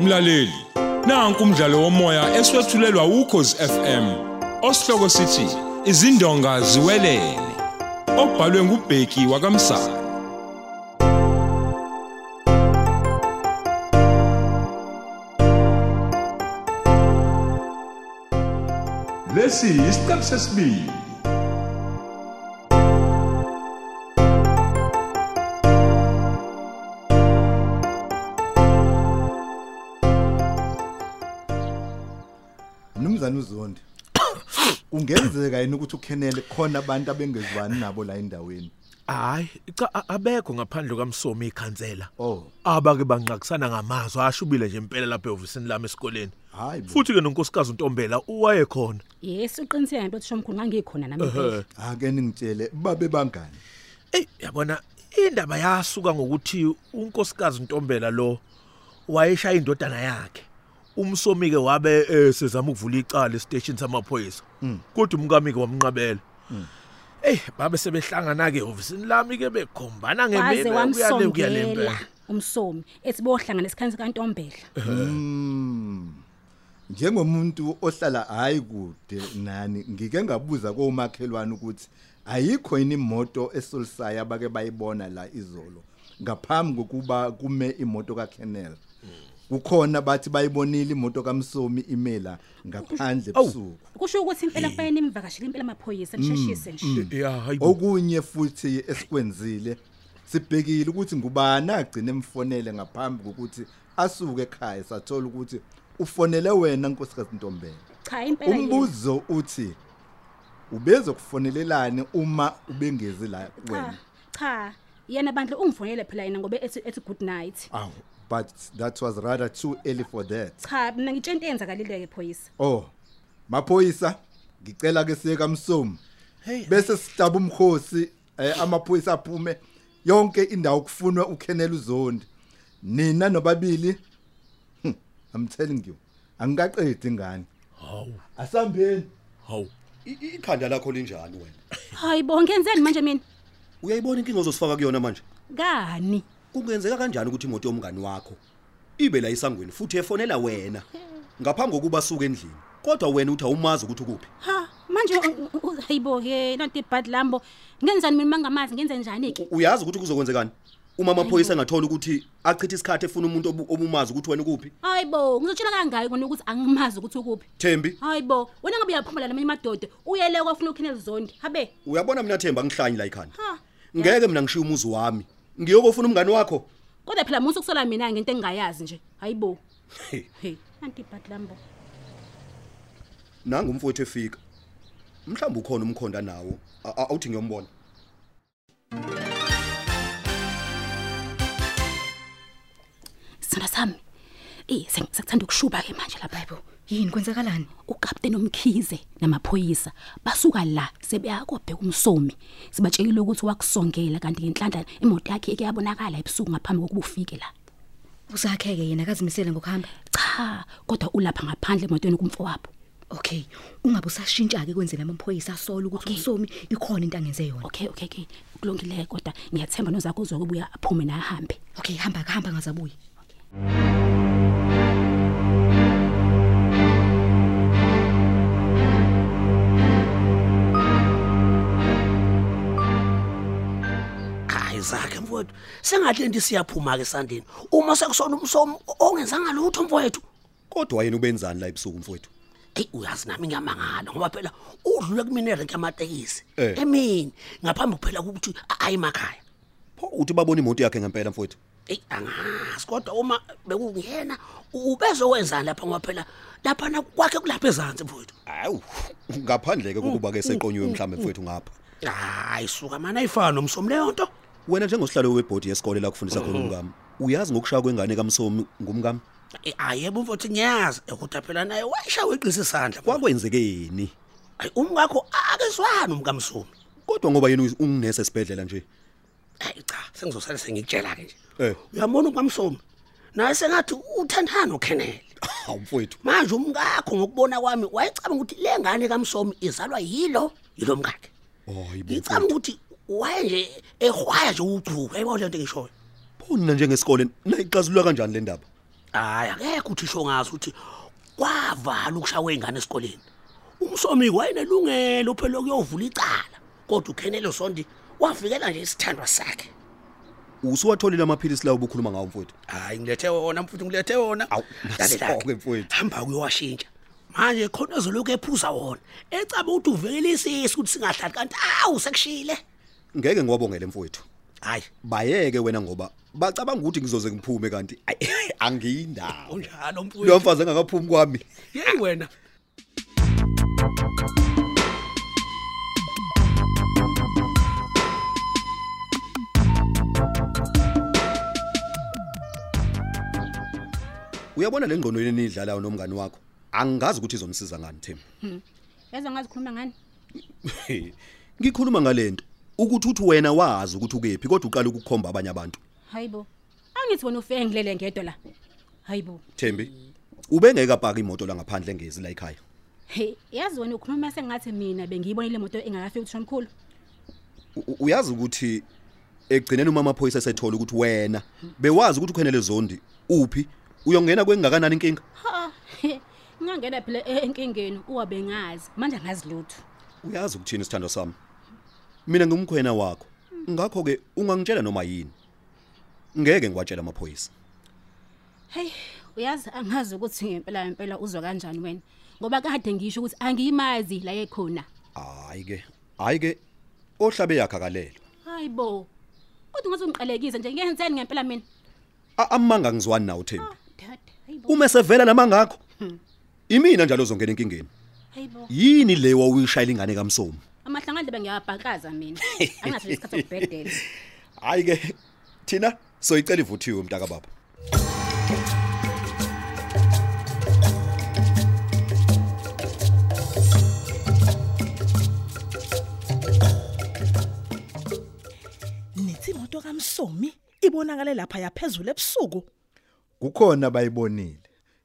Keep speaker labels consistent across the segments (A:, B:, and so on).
A: Mlaleli, nanku umdlalo womoya eswetshulelwa ukhozi FM. Osihloko sithi izindonga ziwelele. Obhalwe ngubheki wakamsana. Lesi isiqephu sesibili.
B: Mnumzane uZondi. Ungenzeka yini ukuthi ukhenele khona abantu abengezwani nabo la endaweni?
C: Hayi, cha a- abekho ngaphandle kaMsomi ikhansela.
B: Oh,
C: Abake banqaqisana ngamazwi ashubile nje impela lapha ehovisini lami esikoleni.
B: hayi bo.
C: Futhi ke nonkosikazi uNtombela uwaye khona.
D: Yes, uqinisile ngempela uthi shomkhulu ngangikhona nami impela.
B: Ake ningitshele babe bangani?
C: Ey, yabona indaba yasuka ngokuthi unkosikazi uNtombela lo wayeshaya indodana yakhe. UMsomi ke wabe esezama ukuvula icala esiteshini samaphoyisa.
B: Hmm.
C: Kodwa umkami ke wamnqabela. Ey, babe sebehlangana ke ehovisini lami ke bekhombana
D: Waze
C: ngemina kuyale kuyale
D: wamsongela
C: impela.
D: umsomi ethi bohlangana esikhathi kaNtombela.
B: Njengomuntu ohlala hayi kude nani, ngike ngabuza komakhelwane ukuthi ayikho yini imoto esolisaya bake bayibona la izolo ngaphambi kokuba kume imoto kaKennel. Kukhona bathi bayibonile imoto kaMsomi imela ngaphandle
C: Awu.
B: ebusuku.
D: Kusho ukuthi impela kubayeni imvakashela impela amaphoyisa kusheshise nje.
C: Yeah, hayibo.
B: okunye futhi esikwenzile sibhekile ukuthi ngubani agcine emfonele ngaphambi kokuthi asuke ekhaya sathola ukuthi ufonele wena nkosikazi Ntombela
D: Cha impela yini?
B: umbuzo uthi ubezo kufonelelane uma ubengezi la
D: cha.
B: wena
D: Cha, yena bandla ungifonele phela yena ngoba ethi ethi good night.
B: aw but that was rather too early for that
D: Cha, mina ngitshe into eyenzakalile ke phoyisa.
B: oh maphoyisa ngicela ke siye kaMsomi
C: Hey,
B: bese sidaba umkhosi eh, amaphoyisa aphume yonke indawo kufunwa uKennel uZondi nina nobabili hmm, I'm telling you angikaqedi ngani
C: hawu,
B: asambeni
C: hawu.
E: I- i- ikhanda lakho linjani wena
D: Hayibo, ngenzeni manje mina?
E: uyayibona inkinga ozosifaka kuyona manje
D: Kani?
E: kungenzeka kanjani ukuthi imoto yomngani wakho ibe la isangweni futhi efonela wena ngaphambi kokuba suke endlini kodwa wena uthi awumazi ukuthi ukuphi
D: Ha, manje u- u- u- hayibo ke lonto ibhadi lambo. Ngenzani mina mangamazi ngenze njani ke?
E: U- uyazi ukuthi kuzokwenzekani uma amaphoyisa angathola ukuthi achithe isikhathi efuna umuntu obu- obumazi ukuthi wena ukuphi
D: Hayibo, ngizotshela kangayi kona ukuthi angimazi ukuthi ukuphi.
E: thembi
D: Hayibo, wena ngabe uyaphumula namanye amadoda, uyeleke wafuna ukhinele zondi. Habe.
E: uyabona mina themba ngihlanyi la ikhanda
D: Ha.
E: ngeke mina ngishiye umuzi wami ngiyokufuna umngani wakho
D: Kodwa phela musu kusola mina ngento engayazi nje. Hayibo.
E: He,
D: Hey, anti badlambo.
E: nanga umfowethu efika mhlawumbe ukhona umkhonda nawo A- a- awuthi ngiyombona
D: Sithanda sami. Eh, sengikuthanda ukushuba ke manje lapha yebo.
F: yini kwenzakalani
D: Ukapteni Omkhize namaphoyisa basuka la sebeya kobheka umsomi. Sibatshelile ukuthi wakusongela kanti ngenhlanhla imoto yakhe eke yabonakala ebusuku ngaphambi kokuba ufike la.
F: usakheke yena akazimisele ngokuhamba
D: Cha, kodwa ulapha ngaphandle emotweni kumfowabo.
F: okay ungabe usashintsha ke kwenzela amaphoyisa asola ukuthi
D: Okay.
F: umsomi ikhona into angenze yona
D: Okay, okay, okay. Kulungile kodwa ngiyathemba nozakho uzokubuya aphume na ahambe.
F: okay hamba kahamba ngazabuye
G: hayi zakhe mfowethu sengathi lento siyaphuma ke sandini uma sekusona umsomo ongenzanga lutho mfowethu
E: kodwa yena ubenzani la ebusuku mfowethu
G: eyi uyazi nami ngiyamangala ngoba phela udlule kumina erenki yamatekisi
E: Eh.
G: emini ngaphambi kuphela kokuthi a- aye emakhaya
E: pho uthi babona imoto yakhe ngempela mfowethu
G: eyi angazi kodwa uma bekungena ubezokwenzani lapha ngoba phela laphana kwakhe kulapha ezansi mfowethu
E: awu ngaphandleke kokuba ke seqonyiwe mhlawumbe mfowethu ngapha
G: hayi suka mani ayifana nomsomo leyo nto
E: wena njengosihlalo webhodi yesikole la kufundisa khona umkami uyazi ngokushaya kwengane kamsomi ngumkami
G: Eh, ayi yebo mfowethu ngiyazi Eh, kodwa phela naye wayeshawe iqisa isandla
E: kwakwenzekeni
G: Ayi, umkakho akezwani umkamsomi
E: kodwa ngoba yena uyi- ungunesi esibhedlela nje
G: hayi cha sengizosale sengikutshela ke nje
E: Eh.
G: uyambona ukwamsomi naye sengathi uthandana uKenneth
E: hawu mfowethu
G: manje umkakho ngokubona kwami wayecabanga ukuthi le ngane kaMsomi izalwa yilo yilo mkakhe
E: hayibo
G: ngicabanga ukuthi waye nje ehwaya nje uchuku yayibona lento ngishoyo
E: pho nina njengesikole nayixazulula kanjani le ndaba
G: hayi akekho uthisho ngazi ukuthi kwavala ukushawa ingane esikoleni umsomiki wayenelungelo phela lokuyovula icala kodwa ukhenelo sondi wafikela nje isithandwa sakhe
E: Usuwatholile amaphilisi lawo ubukhuluma ngawo mfowethu.
G: hayi ngilethe wona mfuthu ngilethe wona
E: Awu,
G: Lalela-ke,
E: naso-ke mfowethu.
G: hamba kuyowashintsha manje khona ezolokhu ephuza wona ecaba ukuthi uvikele isisi ukuthi singahlali kanti awu sekushile
E: Ngeke ngiwabongele mfowethu.
G: hayi
E: Bayeke wena ngoba bacabanga ukuthi ngizoze ngiphume kanti ayi, angiyindawo.
G: unjalo
E: Lo
G: mfuthu
E: mfazi engakaphumi kwami.
G: yeyi wena
E: Uyabona le ngqondo yenu nidlalayo nomngani wakho. Angazi ukuthi izomsiza ngani Thembi.
D: Yazi angazikhuluma ngani?
E: Ngikhuluma ngalento ukuthi uthi wena wazi ukuthi ukephi kodwa uqala ukukhomba abanye abantu.
D: Hayibo. Angithi wena ufike ngilele ngedwa la. Hayibo.
E: Thembi, ubengeke apaka imoto la ngaphandle ngezi la ekhaya.
D: Hey, yazi wena ukhuluma sengathi mina bengiyibonile imoto engakafiki uThomkhulu.
E: U- Uyazi ukuthi egcineni uma amaphoyisa esethola ukuthi wena bewazi ukuthi ukhenele zondi uphi uyongena kwengakanani inkinga.
D: Ha. Ngingangena phela e- enkingeni uwabengazi. Manje angazi lutho.
E: Uyazi ukuthini sithando sami? Mina ngumkhwena wakho. Ngakho ke ungangitshela noma yini. Ngeke ngiwatshela amaphoyisa.
D: Hey, uyazi angazi ukuthi ngempela ngempela uzwa kanjani wena. Ngoba kade ngisho ukuthi angiyimazi la ekhona.
E: Hayi ke, hayi ke ohlabe yakhakalelwa.
D: Hayibo. Kodwa ngathi ungiqalekise nje ngiyenzeni ngempela mina. Ah,
E: A- Amanga ngizwani nawe Thembi.
D: Dad, hayibo.
E: Uma sevela lamangakho. Imina njalo zongena inkingeni.
D: Hayibo.
E: Yini le wawuyishayela ingane kaMsomo?
D: Amahlangano bengiyabhakaza mina. Angathi lesikhathi sokubhedela.
E: Hayi ke thina soyicela ivuthiwe mntaka baba.
H: nithi imoto kamsomi ibonakale e lapha yaphezulu ebusuku
B: kukhona bayibonile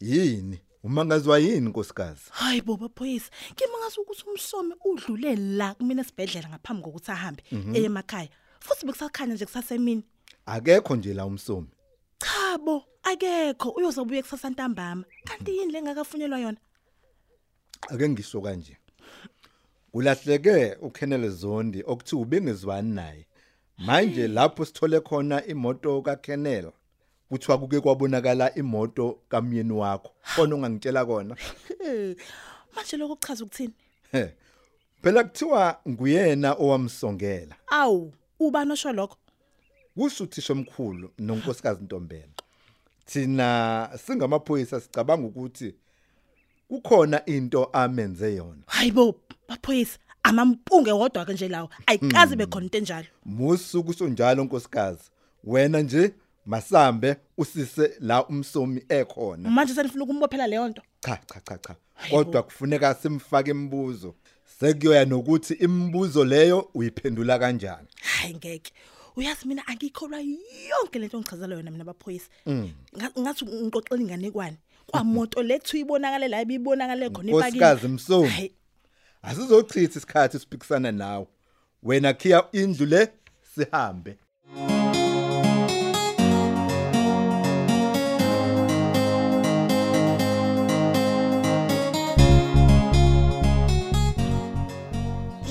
B: yini umangazwa yini nkosikazi
H: hayi boba phoyisa ngimangazi ukuthi umsomi udlule la kumina esibhedlela ngaphambi kokuthi ahambe eye emakhaya futhi bekusakhanya nje kusasemini
B: akekho nje la umsomi
H: cha bo akekho uyozobuya kusasa ntambama kanti yini lengakafunyelwa yona
B: ake ngisho kanje kulahleke uKenneth Zondi okuthi ubengezwani naye manje lapho sithole khona imoto kaKenneth kuthiwa kuke kwabonakala imoto kamyeni wakho kona ungangitshela kona
H: Eh, manje lokho kuchaza ukuthini
B: He. phela kuthiwa nguyena owamsongela
H: awu ubani osho lokho
B: kusho uthisha omkhulu nonkosikazi Ntombela thina singamaphoyisa sicabanga ukuthi kukhona into amenze yona
H: hayi bo baphoyisa amampunge wodwa ke nje lawo ayikazi bekhona into enjalo
B: musu kusho njalo nkosikazi wena nje masambe usise la umsomi ekhona
H: manje senifuna ukumbophela leyo nto
B: cha cha cha cha kodwa kufuneka simfake imibuzo sekuyoya nokuthi imibuzo leyo uyiphendula kanjani
H: hayi ngeke uyazi mina angikholwa yonke lento ngichazela yona mina baphoyisa Nga- ngathi ngixoxela inganekwane kwamoto lethu ibonakale la ibibonakale khona
B: Nkosikazi Msomi.
H: Hayi,
B: asizochitha isikhathi siphikisana nawe wena khiya indlu le sihambe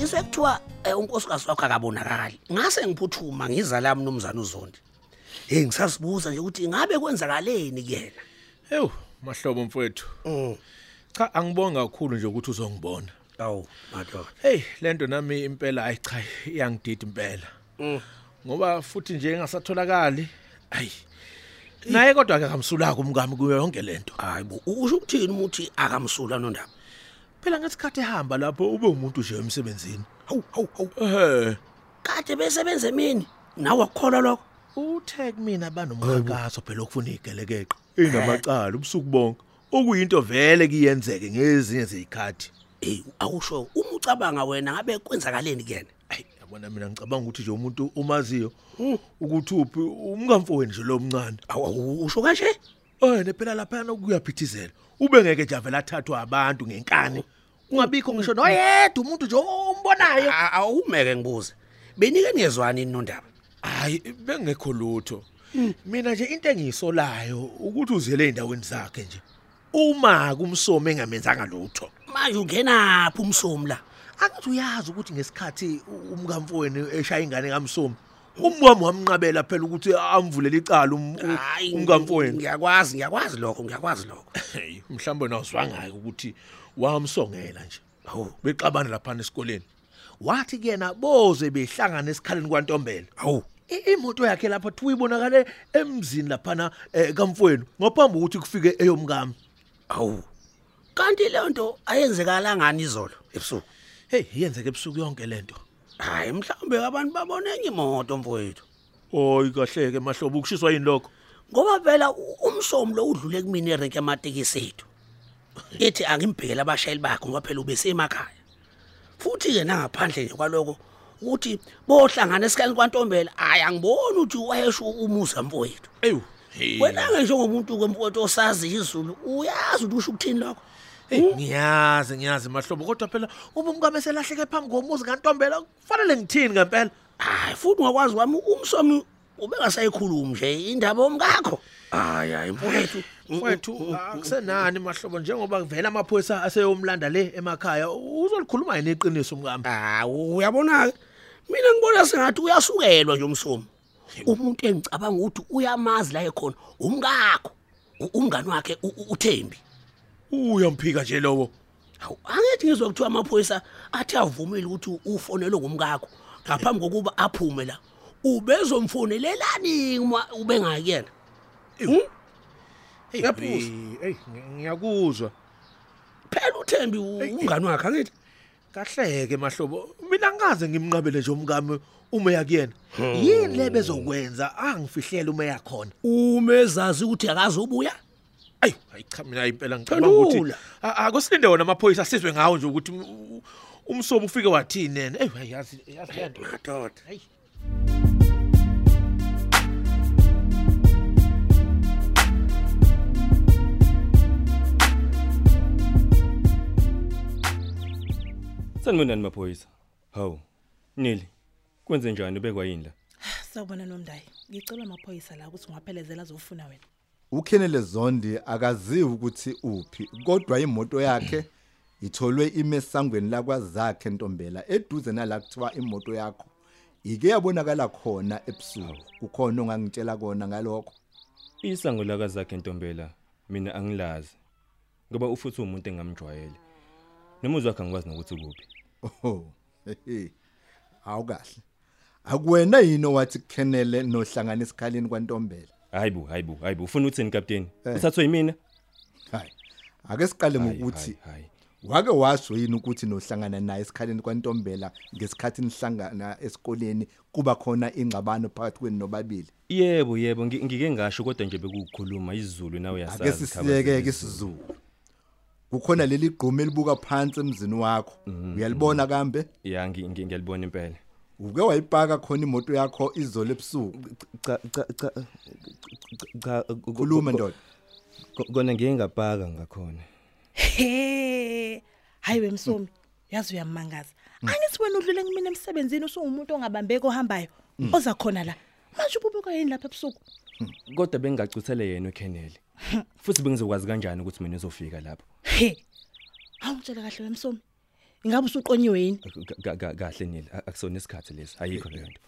G: yiswe kuthiwa eh, unkosikazi wakho akabonakali ngase ngiphuthuma ngiza la mnumzane uzondi hey ngisazibuza nje ukuthi ngabe kwenzakaleni kuyena
C: Ewu, mahlobo mfowethu. Cha angibonga kakhulu nje ukuthi uzongibona.
G: awu madoda
C: Hey, lento nami impela ayi cha iyangidida impela.
G: Mm.
C: Ngoba futhi nje engasatholakali. Ayi. Naye kodwa ke kamsulaka umkami kuyo yonke lento.
G: hayi bo usho ukuthini umuthi akamsula nondaba
C: Phela ngesikhathi ehamba lapho ube umuntu nje emsebenzini.
G: hawu hawu hawu
C: Eh,
G: kade besebenza emini nawe akukholwa lokho
C: uthe kumina banomhakazo phela okufuna igelekeqa. Inamacala ubusuku bonke. Okuyinto vele kiyenzeke ngezinye zezikhati.
G: eyi awusho uma ucabanga wena ngabe kwenzakaleni kuyena
C: Ayi yabona mina ngicabanga ukuthi nje umuntu umaziyo ukuthi uphi umkamfoweni nje lo mncane.
G: awu awu, usho kanje
C: Ene phela lapha nokuyaphithizela. Ube ngeke nje avela thathwa abantu ngenkani. Ungabikho ngisho noyedwa umuntu nje ombonayo.
G: A- awumeke ngibuze benike niyezwani nondaba
C: Hayi bengekho lutho. mina nje into engiyisolayo ukuthi uzele endaweni zakhe nje uma kumsomo engamenzanga lutho
G: manje ungenaphi umsomi la
C: angathi uyazi ukuthi ngesikhathi u- umkamfweni eshaya ingane kamsomo umwami wamnqabela phela ukuthi amvulele icala um- u-
G: Hhayi,
C: umkamfweni
G: ngiyakwazi ngiyakwazi lokho ngiyakwazi lokho
C: Hey, mhlawumbe nawuzwangayo ukuthi wamsongela nje hawu bexabana lapha esikoleni wathi kuyena boze behlangana esikhaleni kwantombela hawu i- imoto yakhe lapha thi uyibonakale emzini laphana eh, kamfweni ngaphambi ukuthi kufike eyomkami
G: hawu kanti leyo nto ayenzekalangani izolo ebusuku
C: heyi yenzeke ebusuku yonke le nto
G: hhayi mhlawumbe abantu babone enye imoto mfowethu
C: oyi kahle-ke mahlobo ukushiswa yini lokho
G: ngoba phela u- umsomi lo udlule kumina erenki yamatekisi ethu ethi angimbhekele abashayeli bakhe ngoba phela ubesemakhaya futhi-ke nangaphandle nje kwaloko ukuthi bohlangana esikali kwantombela hhayi angiboni ukuthi wayesho umuza mfowethu
C: eyu hey.
G: wena-ke njengomuntu-ke mfowethu osaziyo izulu uyazi ukuthi usho ukuthini lokho
C: Eyi, ngiyazi ngiyazi mahlobo kodwa phela uma umkami eselahleke phambi komuzi kantombela kufanele ngithini ngempela
G: hayi futhi ngokwazi kwami umsomi ubengasayikhulumi nje indaba omkakho hayi hayi mfowethu ah,
C: mfowethu akusenani mahlobo njengoba vele amaphoyisa aseyomlanda le emakhaya uzolikhuluma yini iqiniso umkami
G: hawu Ah, uyabona-ke mina ngibona sengathi uyasukelwa nje umsomi umuntu engicabanga ukuthi uyamazi la ekhona umkakho u- umngani wakhe u- u- uthembi
C: uyamphika nje lowo
G: hawu angithi ngizwa kuthiwa amaphoyisa athi avumile ukuthi ufonelwe ngumkakho ngaphambi kokuba aphume la ubezomfonelelani uma ubengakuyena
C: Eyi,
G: Hmm? Ngiyaphuza.
C: eyi ngi- ngiyakuzwa
G: phela uthembi umngani wakhe angithi
C: kahleke mahlobo mina ngaze ngimnqabele nje umkami uma yakuyena
G: Hmm.
C: yini le bezokwenza angifihlele uma yakhona
G: umezazi ukuthi akazubuya
C: ayi hayi cha mina impela ngicabanga ukuthi
G: Phendula.
C: a- akusilinde wona amaphoyisa asizwe ngawo nje ukuthi um- u- umsomo ufike wathini yena eyi hayi, yazi yazi le nto
G: madoda
C: hayi
I: Sanibonani maphoyisa. Hawu. Nili. Kwenze njani ubekwa yini la?
H: sawubona nomndayi ngicela amaphoyisa la ukuthi ngiwaphelezela azofuna wena
B: ukhenele zondi akaziwi ukuthi uphi kodwa imoto yakhe itholwe imesangweni lakwazakhe ntombela eduze nalakuthiwa imoto yakho ike yabonakala khona ebusuku kukhona ongangitshela kona ngalokho
I: Isango lakazakhe Ntombela mina angilazi. Ngoba ufuthi umuntu engamjwayele. Nomuzi wakhe angikwazi nokuthi kuphi.
B: oho hehe. awu kahle akuwena yini owathi khenele nohlangana esikhaleni kwantombela
I: Hayibo, hayibo, hayibo. Ufuna uthini captain? Uthathwe yimina?
B: hayi ake siqale
I: Hayi,
B: ngokuthi
I: hayi, hayi.
B: wake washo yini ukuthi nohlangana naye esikhaleni kwantombela ngesikhathi nihlangana esikoleni kuba khona ingxabano phakathi kwenu nobabili
I: Yebo, yebo, ngi- ngike ngasho kodwa nje bekukhuluma izulu nawe uyasazi.
B: ake sisiyeke ke isizulu kukhona leli gqumo elibuka phansi emzini wakho uyalibona kambe
I: Ya ngi- ngi- ngiyalibona impela.
B: uke wayipaka khona imoto yakho izolo ebusuku
I: Cha cha cha cha
B: khuluma ndoda
I: Kona ngeke ngapaka ngakhona.
H: he hayi wemsomi yazi uyammangaza angithi wena udlule kumina emsebenzini usungumuntu ongabambeki ohambayo oza khona la manje ububekwa yini lapha ebusuku
I: kodwa bengingacuthele yena uKennedy futhi bengizokwazi kanjani ukuthi mina ezofika lapho
H: he awungitshele kahle wemsomi ingabe usuqonyiwe yini
I: Ka- ka- kahle nile a- akusona isikhathi lesi ayikho leyo nto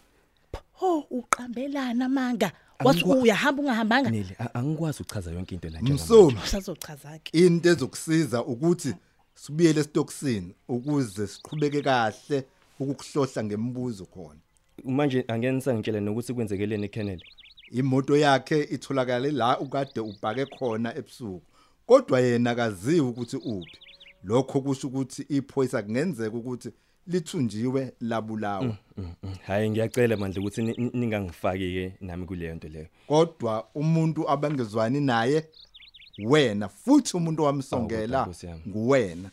H: ho uqambelana manga wathi uyahamba ungahambanga
I: nile a- angikwazi ukuchaza yonke into la
B: msomi
H: usazochaza-ke
B: into ezokusiza ukuthi sibuyele esitokisini ukuze siqhubeke kahle ukukuhlohla ngembuzo khona
I: manje angeni sangitshela nokuthi kwenzekeleni Kennedy
B: imoto yakhe itholakale la ukade ubhake khona ebusuku kodwa yena akaziwa ukuthi uphi lokho kusho ukuthi iphoyisa kungenzeka ukuthi lithunjiwe
I: Mm.
B: labulawa
I: hayi ngiyacela mandla ukuthi ni- ni- ningangifaki ke nami kuleyo nto leyo
B: kodwa umuntu abangezwani naye wena futhi umuntu
I: Awu,
B: wamsongela
I: Ah, Nkosi yami.
B: nguwena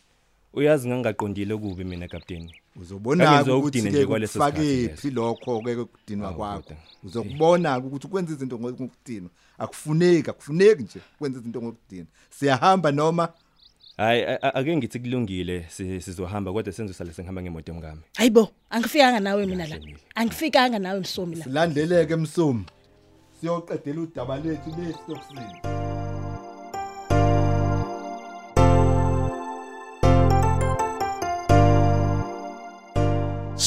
I: uyazi ngangaqondile kubi mina captain
B: uzobona
I: Ngangizwa
B: ukuthi
I: ukudinwa
B: ke
I: nje kwaleso sikhathi leso.
B: kufakephi lokho ke kudinwa
I: Hawu,
B: kwakho
I: kodwa.
B: uzokubona ukuthi ukwenza izinto ngokudinwa akufuneki akufuneki nje ukwenza izinto ngokudinwa siyahamba noma
I: hayi a- a- ake ngithi kulungile si- sizohamba kodwa senze sale sengihamba ngemoto yomkami
H: hayibo angifikanga nawe mina la
I: Kahle mina.
H: angifikanga nawe msomi la
B: silandeleke msomi siyoqedela udaba lethu besiyokusina